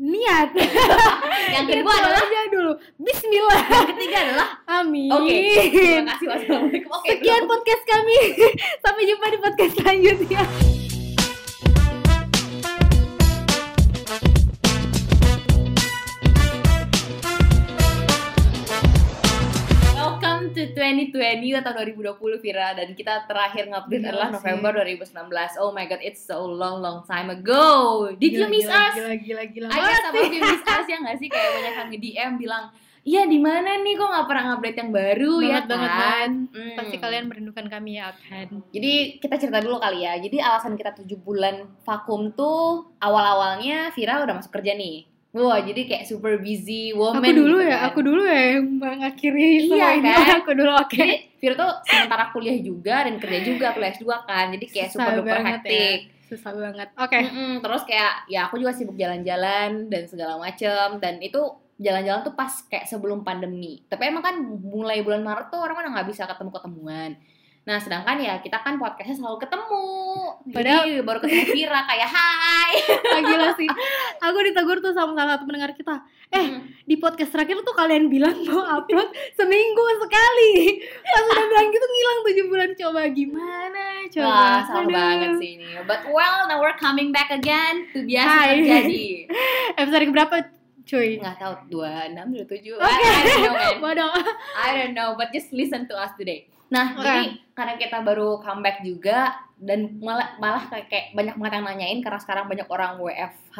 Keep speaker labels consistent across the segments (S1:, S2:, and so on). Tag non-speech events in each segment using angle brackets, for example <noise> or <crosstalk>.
S1: niat. Niat
S2: Yang
S1: <laughs>
S2: kedua adalah
S1: aja dulu. Bismillah.
S2: yang ketiga adalah
S1: Amin.
S2: oke. Terima kasih wassalamualaikum. Oke.
S1: Sekian podcast kami. <laughs> Sampai jumpa di podcast selanjutnya.
S2: Welcome to 2020 atau 2020 Vira dan kita terakhir ngupdate
S1: Gila
S2: adalah
S1: sih.
S2: November 2019. Oh my god, it's so long long time ago. Did you
S1: Gila,
S2: miss
S1: gila,
S2: us?
S1: Gila gila gila.
S2: I guess some of you miss us ya nggak sih kayak banyak yang nge-DM bilang, "Iya, di mana nih kok nggak pernah update yang baru ya
S1: Banget,
S2: kan?"
S1: banget,
S2: Hmm.
S1: Pasti kalian merindukan kami ya kan.
S2: Jadi kita cerita dulu kali ya. Jadi alasan kita tujuh bulan vakum tuh awal-awalnya Vira udah masuk kerja nih. Wah, jadi kayak super busy woman.
S1: Aku dulu
S2: gitu
S1: ya,
S2: kan.
S1: aku dulu ya yang mengakhiri semua
S2: Iya,
S1: ini.
S2: kan?
S1: <laughs> Aku dulu oke.
S2: Jadi Vira tuh sementara kuliah juga dan kerja juga kuliah S2 kan. Jadi kayak
S1: Susah
S2: super duper
S1: banget ya.
S2: hektik.
S1: Susah banget. Oke.
S2: Mm-mm, terus kayak ya aku juga sibuk jalan-jalan dan segala macem dan itu jalan-jalan tuh pas kayak sebelum pandemi. Tapi emang kan mulai bulan Maret tuh orang kan udah nggak bisa ketemu ketemuan. Nah sedangkan ya kita kan podcastnya selalu ketemu. Padahal
S1: Padahal-
S2: baru ketemu Vira kayak Hai.
S1: Ah, gila
S2: <laughs>
S1: sih. Aku ditegur tuh sama salah satu pendengar kita. <laughs> Eh, di podcast terakhir tuh kalian bilang mau upload seminggu sekali. Pas udah bilang gitu ngilang 7 bulan coba gimana? Coba.
S2: Wah, salah
S1: Aduh.
S2: banget sih ini. But well, now we're coming back again to biasa
S1: Hai.
S2: terjadi.
S1: Episode berapa, cuy?
S2: Nggak tahu dua enam dua tujuh.
S1: Oke.
S2: I don't know, man.
S1: Bodoh.
S2: I don't know, but just listen to us today. Nah,
S1: Oke.
S2: jadi karena kita baru comeback juga dan malah malah kayak, kayak banyak banget yang nanyain karena sekarang banyak orang WFH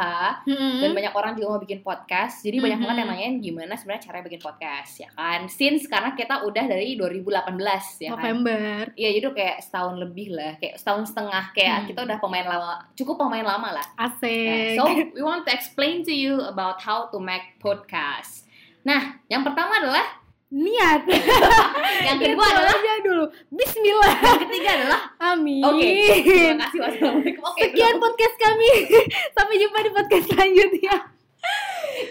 S2: dan
S1: Mm-mm.
S2: banyak orang juga mau bikin podcast. Jadi banyak
S1: Mhm.
S2: banget yang nanyain gimana sebenarnya cara bikin podcast, ya kan? Since karena kita udah dari 2018 ya kan.
S1: November.
S2: Iya, jadi udah kayak setahun lebih lah, kayak setahun setengah kayak
S1: Hmm.
S2: kita udah pemain lama, cukup pemain lama lah.
S1: Asik.
S2: Yeah, Ya, So, we want to explain to you about how to make podcast. Nah, yang pertama adalah,
S1: niat.
S2: yang
S1: Niat
S2: kedua adalah
S1: aja dulu. Bismillah.
S2: yang ketiga adalah
S1: Amin.
S2: oke terima kasih wassalamualaikum oke
S1: Sekian podcast kami. <laughs> Sampai jumpa di podcast selanjutnya.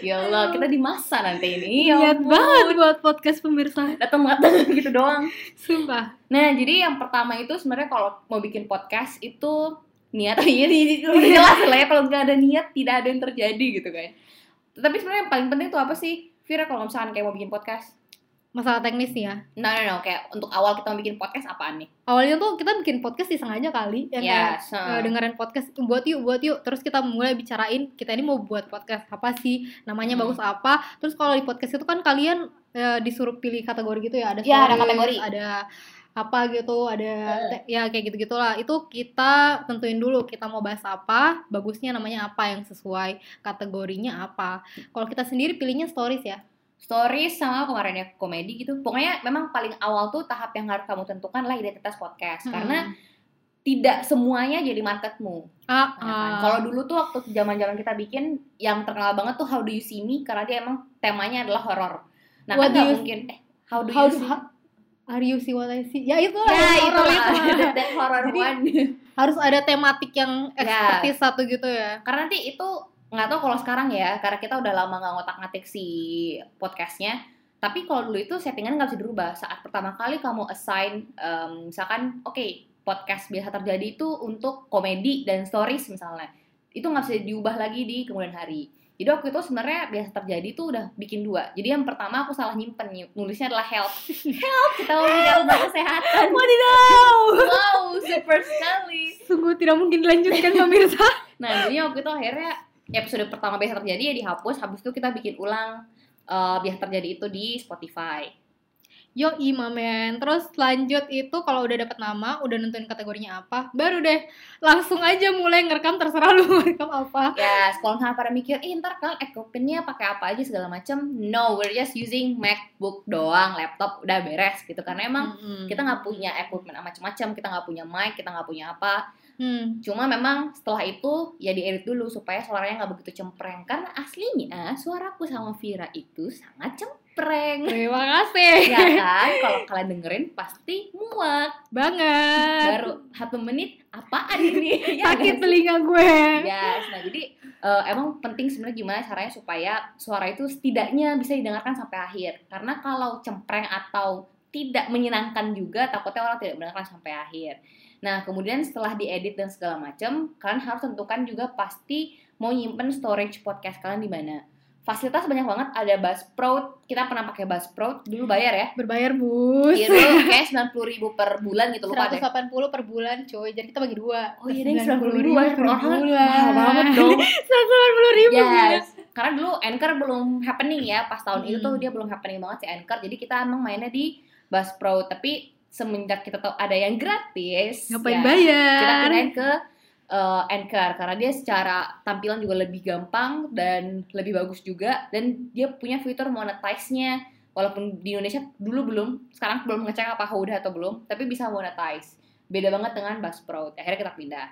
S2: ya Allah kita di masa nanti ini ya
S1: Niat
S2: ampun.
S1: banget buat podcast pemirsa.
S2: datang datang <laughs> gitu doang
S1: Sumpah.
S2: nah jadi yang pertama itu sebenarnya kalau mau bikin podcast itu niat <laughs> iya di- di- udah jelas lah ya kalau nggak ada niat tidak ada yang terjadi gitu kan tapi sebenarnya yang paling penting itu apa sih Vira kalau misalkan kayak mau bikin podcast
S1: Masalah teknis nih ya.
S2: no no no kayak untuk awal kita mau bikin podcast apaan nih nah.
S1: Awalnya tuh kita bikin podcast disengaja kali.
S2: Iya,
S1: Ya nggak?
S2: so-
S1: Eh, dengerin podcast buat yuk buat yuk terus kita mulai bicarain kita ini mau buat podcast apa sih namanya
S2: Hmm.
S1: bagus apa terus kalau di podcast itu kan kalian eh, disuruh pilih kategori gitu ya ada
S2: Ya, ada
S1: stories,
S2: kategori.
S1: ada apa gitu ada
S2: Eh.
S1: te- ya kayak gitu gitulah itu kita tentuin dulu kita mau bahas apa bagusnya namanya apa yang sesuai kategorinya apa kalau kita sendiri pilihnya stories ya
S2: stories sama kemarin ya komedi gitu pokoknya memang paling awal tuh tahap yang harus kamu tentukan lah identitas podcast karena
S1: Mm.
S2: tidak semuanya jadi marketmu.
S1: ah,
S2: ya kan? Kalau dulu tuh waktu zaman-zaman kita bikin yang terkenal banget tuh How Do You See Me karena dia emang temanya adalah horor. Nah,
S1: What do
S2: kan nggak
S1: you-
S2: mungkin eh How Do
S1: How do-
S2: You See Me?
S1: ha- are you see what I see ya itu
S2: Ya, itu lah.
S1: <laughs> itu
S2: <laughs> That- that horror
S1: Jadi-
S2: one.
S1: harus ada tematik yang
S2: Ya.
S1: ekspertis satu gitu ya
S2: Karena nanti itu nggak tahu kalau sekarang ya, karena kita udah lama nggak ngotak-ngatik si podcastnya. Tapi kalau dulu itu settingan nggak bisa dirubah. Saat pertama kali kamu assign, em, misalkan, oke, podcast biasa terjadi itu untuk komedi dan stories misalnya. Itu nggak bisa diubah lagi di kemudian hari. Jadi waktu itu sebenarnya biasa terjadi itu udah bikin dua. Jadi yang pertama aku salah nyimpen, ny- nulisnya adalah <laughs> health. health, kita mau bicara tentang kesehatan.
S1: wadidaw
S2: Wow, super sekali.
S1: sungguh tidak mungkin dilanjutkan <laughs> pemirsa
S2: Nah, jadinya waktu itu akhirnya episode pertama biasa terjadi ya dihapus, habis itu kita bikin ulang eh, biasa terjadi itu di Spotify.
S1: yo imamen terus lanjut itu kalau udah dapet nama udah nentuin kategorinya apa baru deh langsung aja mulai ngerekam terserah lu mau rekam apa
S2: Ya, kalau misalnya pada mikir, eh ntar kan equipmentnya pakai apa aja segala macem, no, we're just using MacBook doang, laptop udah beres gitu, karena emang
S1: Mm-mm.
S2: kita nggak punya equipment macam-macam, kita nggak punya mic, kita nggak punya apa.
S1: Hmm.
S2: Cuma memang setelah itu ya diedit dulu supaya suaranya nggak begitu cempreng, karena aslinya suaraku sama Vira itu sangat cempreng.
S1: terima kasih
S2: ya kan kalau kalian dengerin pasti muak
S1: banget
S2: baru satu menit apaan ini Ya
S1: sakit
S2: guys.
S1: telinga gue
S2: Yes. nah jadi eh, emang penting sebenarnya gimana caranya supaya suara itu setidaknya bisa didengarkan sampai akhir karena kalau cempreng atau tidak menyenangkan juga takutnya orang tidak mendengarkan sampai akhir nah kemudian setelah diedit dan segala macam kalian harus tentukan juga pasti mau nyimpen storage podcast kalian di mana. Fasilitas banyak banget, ada Buzzsprout, kita pernah pakai Buzzsprout, dulu bayar ya.
S1: Berbayar bus.
S2: Iya dulu kayak 90 ribu per bulan gitu lupa deh.
S1: 180 per bulan coy jadi kita bagi dua
S2: Oh iya deh, 90
S1: per
S2: ribu bayar per orang.
S1: bulan
S2: Mahal <laughs> banget dong.
S1: 180 ribu
S2: Yes. Karena dulu Anchor belum happening ya, pas tahun itu
S1: Hmm.
S2: tuh dia belum happening banget si Anchor. Jadi kita emang mainnya di Buzzsprout, tapi semenjak kita tahu ada yang gratis,
S1: ngapain
S2: ya,
S1: bayar
S2: kita pindahin ke eh, Anchor karena dia secara tampilan juga lebih gampang dan lebih bagus juga dan dia punya fitur monetize-nya walaupun di Indonesia dulu belum sekarang belum ngecek apa udah atau belum tapi bisa monetize beda banget dengan Buzzsprout akhirnya kita pindah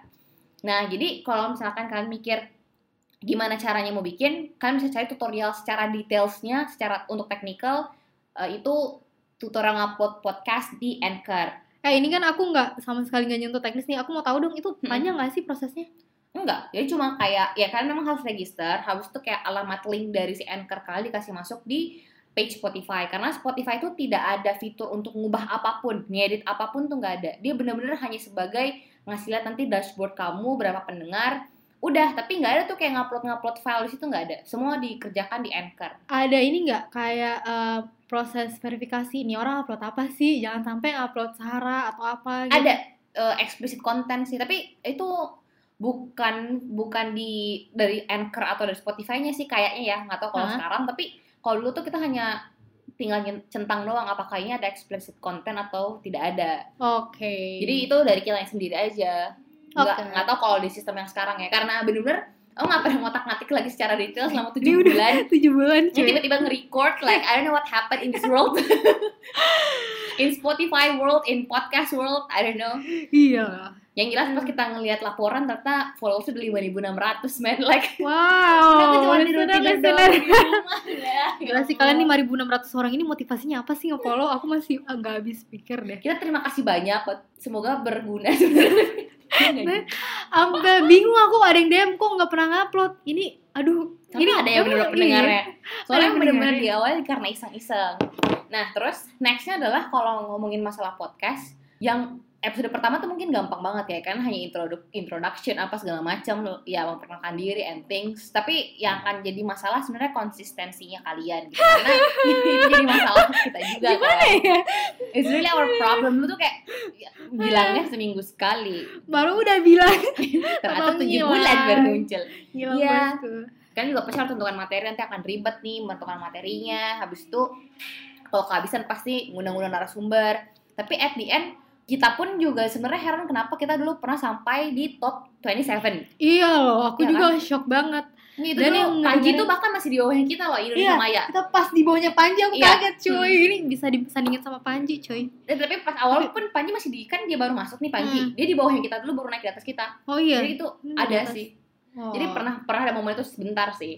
S2: nah jadi kalau misalkan kalian mikir gimana caranya mau bikin kalian bisa cari tutorial secara detailsnya secara untuk teknikal eh, itu tutorial ngupload podcast di Anchor
S1: eh ini kan aku nggak sama sekali nggak nyentuh teknis nih aku mau tahu dong itu
S2: Mm-mm.
S1: panjang nggak sih prosesnya
S2: Enggak, jadi cuma kayak ya kalian memang harus register, harus tuh kayak alamat link dari si Anchor kali dikasih masuk di page Spotify karena Spotify itu tidak ada fitur untuk ngubah apapun, ngedit apapun tuh nggak ada. Dia bener-bener hanya sebagai ngasih lihat nanti dashboard kamu berapa pendengar, udah tapi nggak ada tuh kayak ngupload ngupload file di situ nggak ada. Semua dikerjakan di Anchor.
S1: ada ini nggak kayak eh, proses verifikasi ini orang upload apa sih jangan sampai upload sara atau apa gitu.
S2: Ada eh, explicit konten sih, tapi itu bukan bukan di dari Anchor atau dari Spotify-nya sih kayaknya ya, nggak tahu kalau
S1: Hah?
S2: sekarang, tapi kalau dulu tuh kita hanya tinggal nyen- centang doang apakah ini ada explicit konten atau tidak ada.
S1: oke
S2: Jadi itu dari kita yang sendiri aja. Nggak
S1: Hmm. Oke.
S2: nggak tahu kalau di sistem yang sekarang ya, karena bener-bener Oh nggak pernah ngotak-ngatik lagi secara
S1: <laughs>
S2: detail selama
S1: Dia
S2: tujuh
S1: Iya, udah- Iya.
S2: bulan
S1: tujuh bulan
S2: dia
S1: cuy
S2: tiba-tiba nge-record like I don't know what happened in this world.
S1: <laughs>
S2: in Spotify world, in podcast world, I don't know.
S1: iya lah.
S2: Yang jelas pas kita ngelihat laporan ternyata followers udah 5600 men <laughs> like
S1: wow
S2: aku cuma di
S1: listener,
S2: tidur
S1: listener.
S2: doang di rumah ya.
S1: Gila sih kalian nih 1600 orang ini motivasinya apa sih nge-follow? Aku masih ah, nggak habis pikir deh.
S2: Kita terima kasih banyak buat semoga berguna <laughs>
S1: Nah,
S2: sebenarnya.
S1: Sampai bingung aku ada yang DM kok nggak pernah ngupload. Ini aduh,
S2: Tapi
S1: ini
S2: ada
S1: ini-
S2: yang bener
S1: iya.
S2: pendengarnya.
S1: Ada yang
S2: Soalnya
S1: iya.
S2: bener-bener
S1: pendengarnya.
S2: di awal karena iseng-iseng. Nah, terus nextnya adalah kalau ngomongin masalah podcast yang episode pertama tuh mungkin gampang banget ya kan hanya introdu- introduction apa segala macam ya memperkenalkan diri and things tapi yang akan jadi masalah sebenarnya konsistensinya kalian
S1: <laughs>
S2: gitu karena itu jadi masalah kita juga
S1: Gimana
S2: kan
S1: ya?
S2: it's really our problem lu tuh kayak ya, bilangnya seminggu sekali
S1: <laughs> Baru udah bilang.
S2: ternyata
S1: Atau
S2: tujuh
S1: ngilang.
S2: bulan baru muncul
S1: Gila
S2: Iya.
S1: bosku.
S2: kalian juga pasti harus tentukan materi nanti akan ribet nih menentukan materinya habis itu kalau kehabisan pasti ngundang-ngundang narasumber tapi at the end kita pun juga sebenarnya heran kenapa kita dulu pernah sampai di top 27
S1: Iya loh, aku
S2: Iya
S1: juga shock banget.
S2: Ini itu
S1: Dan
S2: dulu,
S1: yang
S2: Panji
S1: ngedengerin-
S2: tuh bahkan masih di bawahnya kita loh Indonesia
S1: Iya.
S2: Maya
S1: Kita pas di bawahnya Panji aku
S2: Iya.
S1: kaget cuy. Ini bisa disandingin sama Panji cuy.
S2: Eh, tapi pas awal pun Panji masih di kan dia baru masuk nih Panji dia di bawahnya kita dulu baru naik di atas kita
S1: Oh Hmm. iya.
S2: jadi itu
S1: Hmm, di
S2: ada
S1: atas.
S2: sih
S1: Oh.
S2: Jadi
S1: <laughs>
S2: pernah pernah ada momen itu sebentar sih.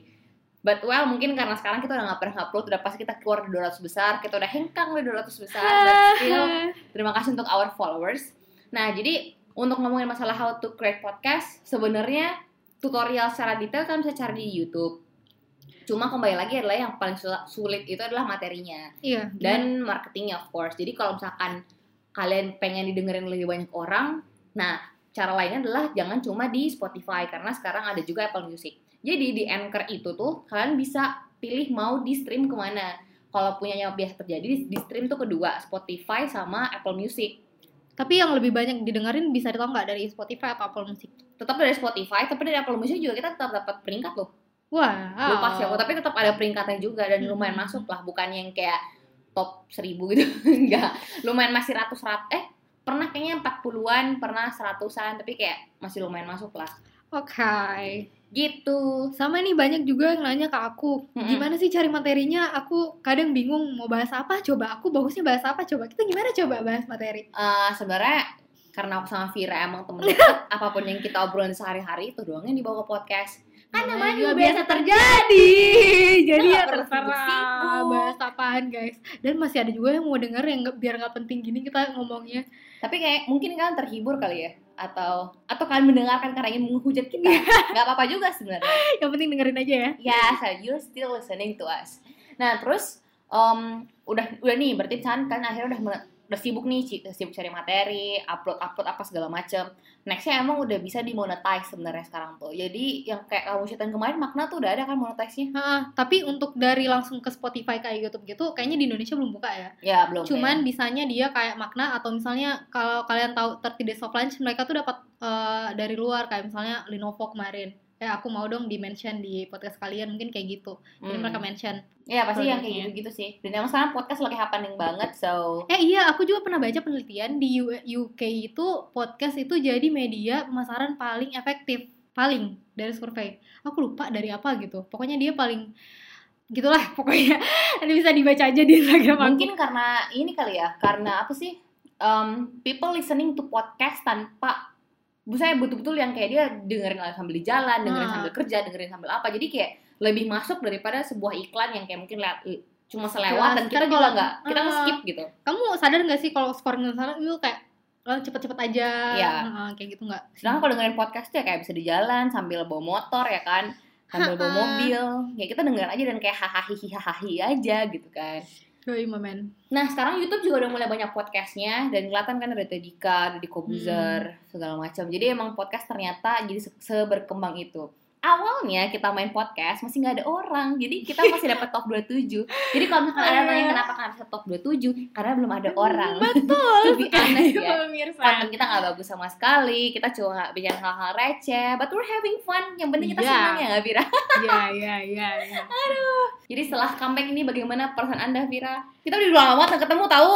S2: But well mungkin karena sekarang kita udah nggak pernah upload, udah pasti kita keluar di 200 besar, kita udah hengkang di 200 besar.
S1: Iya.
S2: But still, terima kasih untuk our followers. Nah jadi untuk ngomongin masalah how to create podcast, sebenarnya tutorial secara detail kan bisa cari di YouTube. Cuma kembali lagi adalah yang paling sul- sulit itu adalah materinya
S1: Iya.
S2: dan marketingnya of course. Jadi kalau misalkan kalian pengen didengerin lebih banyak orang, nah cara lainnya adalah jangan cuma di Spotify karena sekarang ada juga Apple Music. Jadi di Anchor itu tuh kalian bisa pilih mau di stream kemana. Kalau punyanya biasa terjadi di stream tuh kedua Spotify sama Apple Music.
S1: tapi yang lebih banyak didengerin bisa ditau nggak dari Spotify atau Apple Music?
S2: Tetap dari Spotify, tapi dari Apple Music juga kita tetap dapat peringkat loh.
S1: Wah.
S2: Lupa sih aku, tapi tetap ada peringkatnya juga dan
S1: Hmm.
S2: lumayan masuk lah, bukan yang kayak top 1000 gitu. <laughs> Enggak. Lumayan masih ratus rat eh pernah kayaknya 40-an, pernah 100-an, tapi kayak masih lumayan masuk lah.
S1: Oke.
S2: Gitu.
S1: Sama nih banyak juga yang nanya ke aku,
S2: Mm-mm.
S1: gimana sih cari materinya? Aku kadang bingung mau bahas apa coba. Aku bagusnya bahas apa coba? Kita gimana coba bahas materi?
S2: Eh sebenarnya karena aku sama Vira emang temen <laughs> dekat, apapun yang kita obrolin sehari-hari itu doang yang dibawa ke podcast. Kan namanya juga biasa terjadi.
S1: Nah, ya terjadi. <laughs> Jadi
S2: Nggak
S1: ya
S2: perlu
S1: terserah
S2: sibuk-sibuk.
S1: bahas apaan guys. Dan masih ada juga yang mau denger yang nggak- biar nggak penting gini kita ngomongnya.
S2: Tapi kayak mungkin kalian terhibur kali ya atau atau kalian mendengarkan karena ingin menghujat kita. <laughs> nggak apa-apa juga sebenarnya.
S1: Yang penting dengerin aja ya.
S2: Yes, you're still um, listening to us. Nah, terus em, udah udah nih berarti misalkan kalian akhirnya udah mene- udah sibuk nih ci- sibuk cari materi upload upload apa segala macem nextnya emang udah bisa dimonetize sebenarnya sekarang tuh jadi yang kayak kamu ceritain kemarin makna tuh udah ada kan monetize-nya
S1: Ha-ha, tapi untuk dari langsung ke Spotify kayak YouTube gitu kayaknya di Indonesia belum buka ya.
S2: ya belum
S1: Cuman bisanya dia kayak makna atau misalnya kalau kalian tahu 30 Days of Lunch mereka tuh dapat eh, dari luar kayak misalnya Lenovo kemarin. Eh aku mau dong di mention di podcast kalian mungkin kayak gitu.
S2: kayaknya.
S1: Jadi
S2: Hmm.
S1: mereka mention.
S2: ya pasti yang kayak
S1: produknya.
S2: gitu gitu sih dan emang sekarang podcast lagi happening banget so
S1: Eh iya, aku juga pernah baca penelitian di U- UK itu podcast itu jadi media pemasaran paling efektif, paling dari survei. Aku lupa dari apa gitu. Pokoknya dia paling gitulah <laughs> pokoknya. Nanti bisa dibaca aja di Instagram aku.
S2: mungkin karena ini kali ya karena apa sih um, people listening to podcast tanpa saya betul-betul yang kayak dia dengerin sambil di jalan, dengerin
S1: Ah.
S2: sambil kerja, dengerin sambil apa. Jadi kayak lebih masuk daripada sebuah iklan yang kayak mungkin lihat eh, cuma
S1: Jelas,
S2: selewat dan kita
S1: kan
S2: juga
S1: kalau-
S2: nggak kita
S1: Ah.
S2: nge-skip gitu.
S1: Kamu sadar nggak sih kalau scoring dan saran itu kayak lo cepet-cepet aja,
S2: Iya.
S1: Heeh, kayak gitu nggak?
S2: Sedangkan kalau dengerin podcast tuh ya kayak bisa di jalan sambil bawa motor ya kan, sambil bawa
S1: Ha-ha.
S2: mobil. Ya kita dengerin aja dan kayak hahaha hahaha aja gitu kan.
S1: Yoi, momen.
S2: Nah sekarang YouTube juga udah mulai banyak podcastnya dan kelihatan kan ada Tedika, ada di
S1: Hmm.
S2: Kobuzer segala macam. Jadi emang podcast ternyata jadi se- seberkembang itu. Awalnya kita main podcast masih nggak ada orang, jadi
S1: <laughs>
S2: kita masih dapat top 27. Jadi kalau misalkan ada yang nanya kenapa nggak bisa top 27, karena belum ada orang.
S1: Hmm,
S2: <laughs>
S1: Betul.
S2: To be honest ya.
S1: pemirsa.
S2: Konten kita nggak bagus sama sekali, kita cuma bicara hal-hal receh, but we're having fun. Yang penting kita
S1: Iya.
S2: senang ya nggak Vira? <laughs>
S1: Iya, iya, iya. iya.
S2: Jadi setelah comeback ini bagaimana perasaan anda Vira? Kita udah lama banget nggak ketemu tahu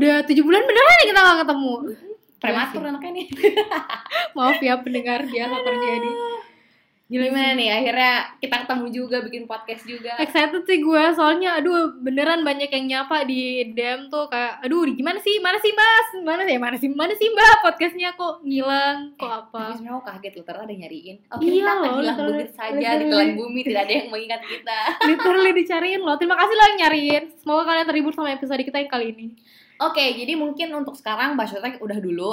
S1: Udah tujuh bulan beneran nih kita nggak ketemu. Iya
S2: prematur anaknya nih.
S1: Maaf ya pendengar biasa terjadi. Gila sih.
S2: Ah, Gimana nih akhirnya kita ketemu juga bikin podcast juga.
S1: excited sih gue soalnya aduh beneran banyak yang nyapa di DM tuh kayak aduh di gimana sih mana sih mas mana sih mana sih mana sih mbak podcastnya kok ngilang kok
S2: <laughs> Tapi
S1: apa
S2: sebenarnya aku kaget loh, ternyata ada yang nyariin. Oke,
S1: Iya
S2: kita akan
S1: loh,
S2: hilang
S1: literal-
S2: bubit saja
S1: literal.
S2: di telan bumi, tidak ada yang mengingat kita.
S1: literally dicariin loh terima kasih loh yang nyariin semoga kalian terhibur sama episode kita yang kali ini
S2: <laughs> Oke, jadi mungkin untuk sekarang Basyotek udah dulu.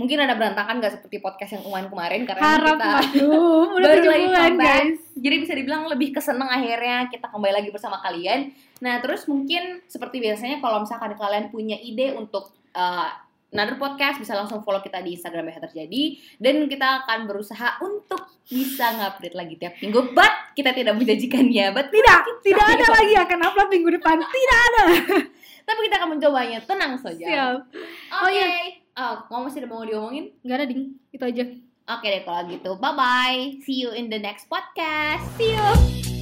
S2: Mungkin ada berantakan gak seperti podcast yang kemarin kemarin karena
S1: harap
S2: kita
S1: aduh udah
S2: baru
S1: tujuh
S2: lagi
S1: bulan
S2: comeback.
S1: guys
S2: Jadi bisa dibilang lebih keseneng akhirnya kita kembali lagi bersama kalian. Nah, terus mungkin seperti biasanya kalau misalkan kalian punya ide untuk uh, another podcast bisa langsung follow kita di Instagram Biasa Terjadi dan kita akan berusaha untuk bisa ngupdate lagi tiap minggu. But kita tidak menjanjikan ya, but
S1: tidak tidak ada lagi Iya. akan upload minggu depan tidak
S2: tapi kita akan mencobanya. Tenang saja. Oke.
S1: siap Oh, iya.
S2: Oh, kamu masih ada mau diomongin?
S1: nggak ada ding itu aja
S2: Oke deh kalau gitu. Bye bye. See you in the next podcast.
S1: see you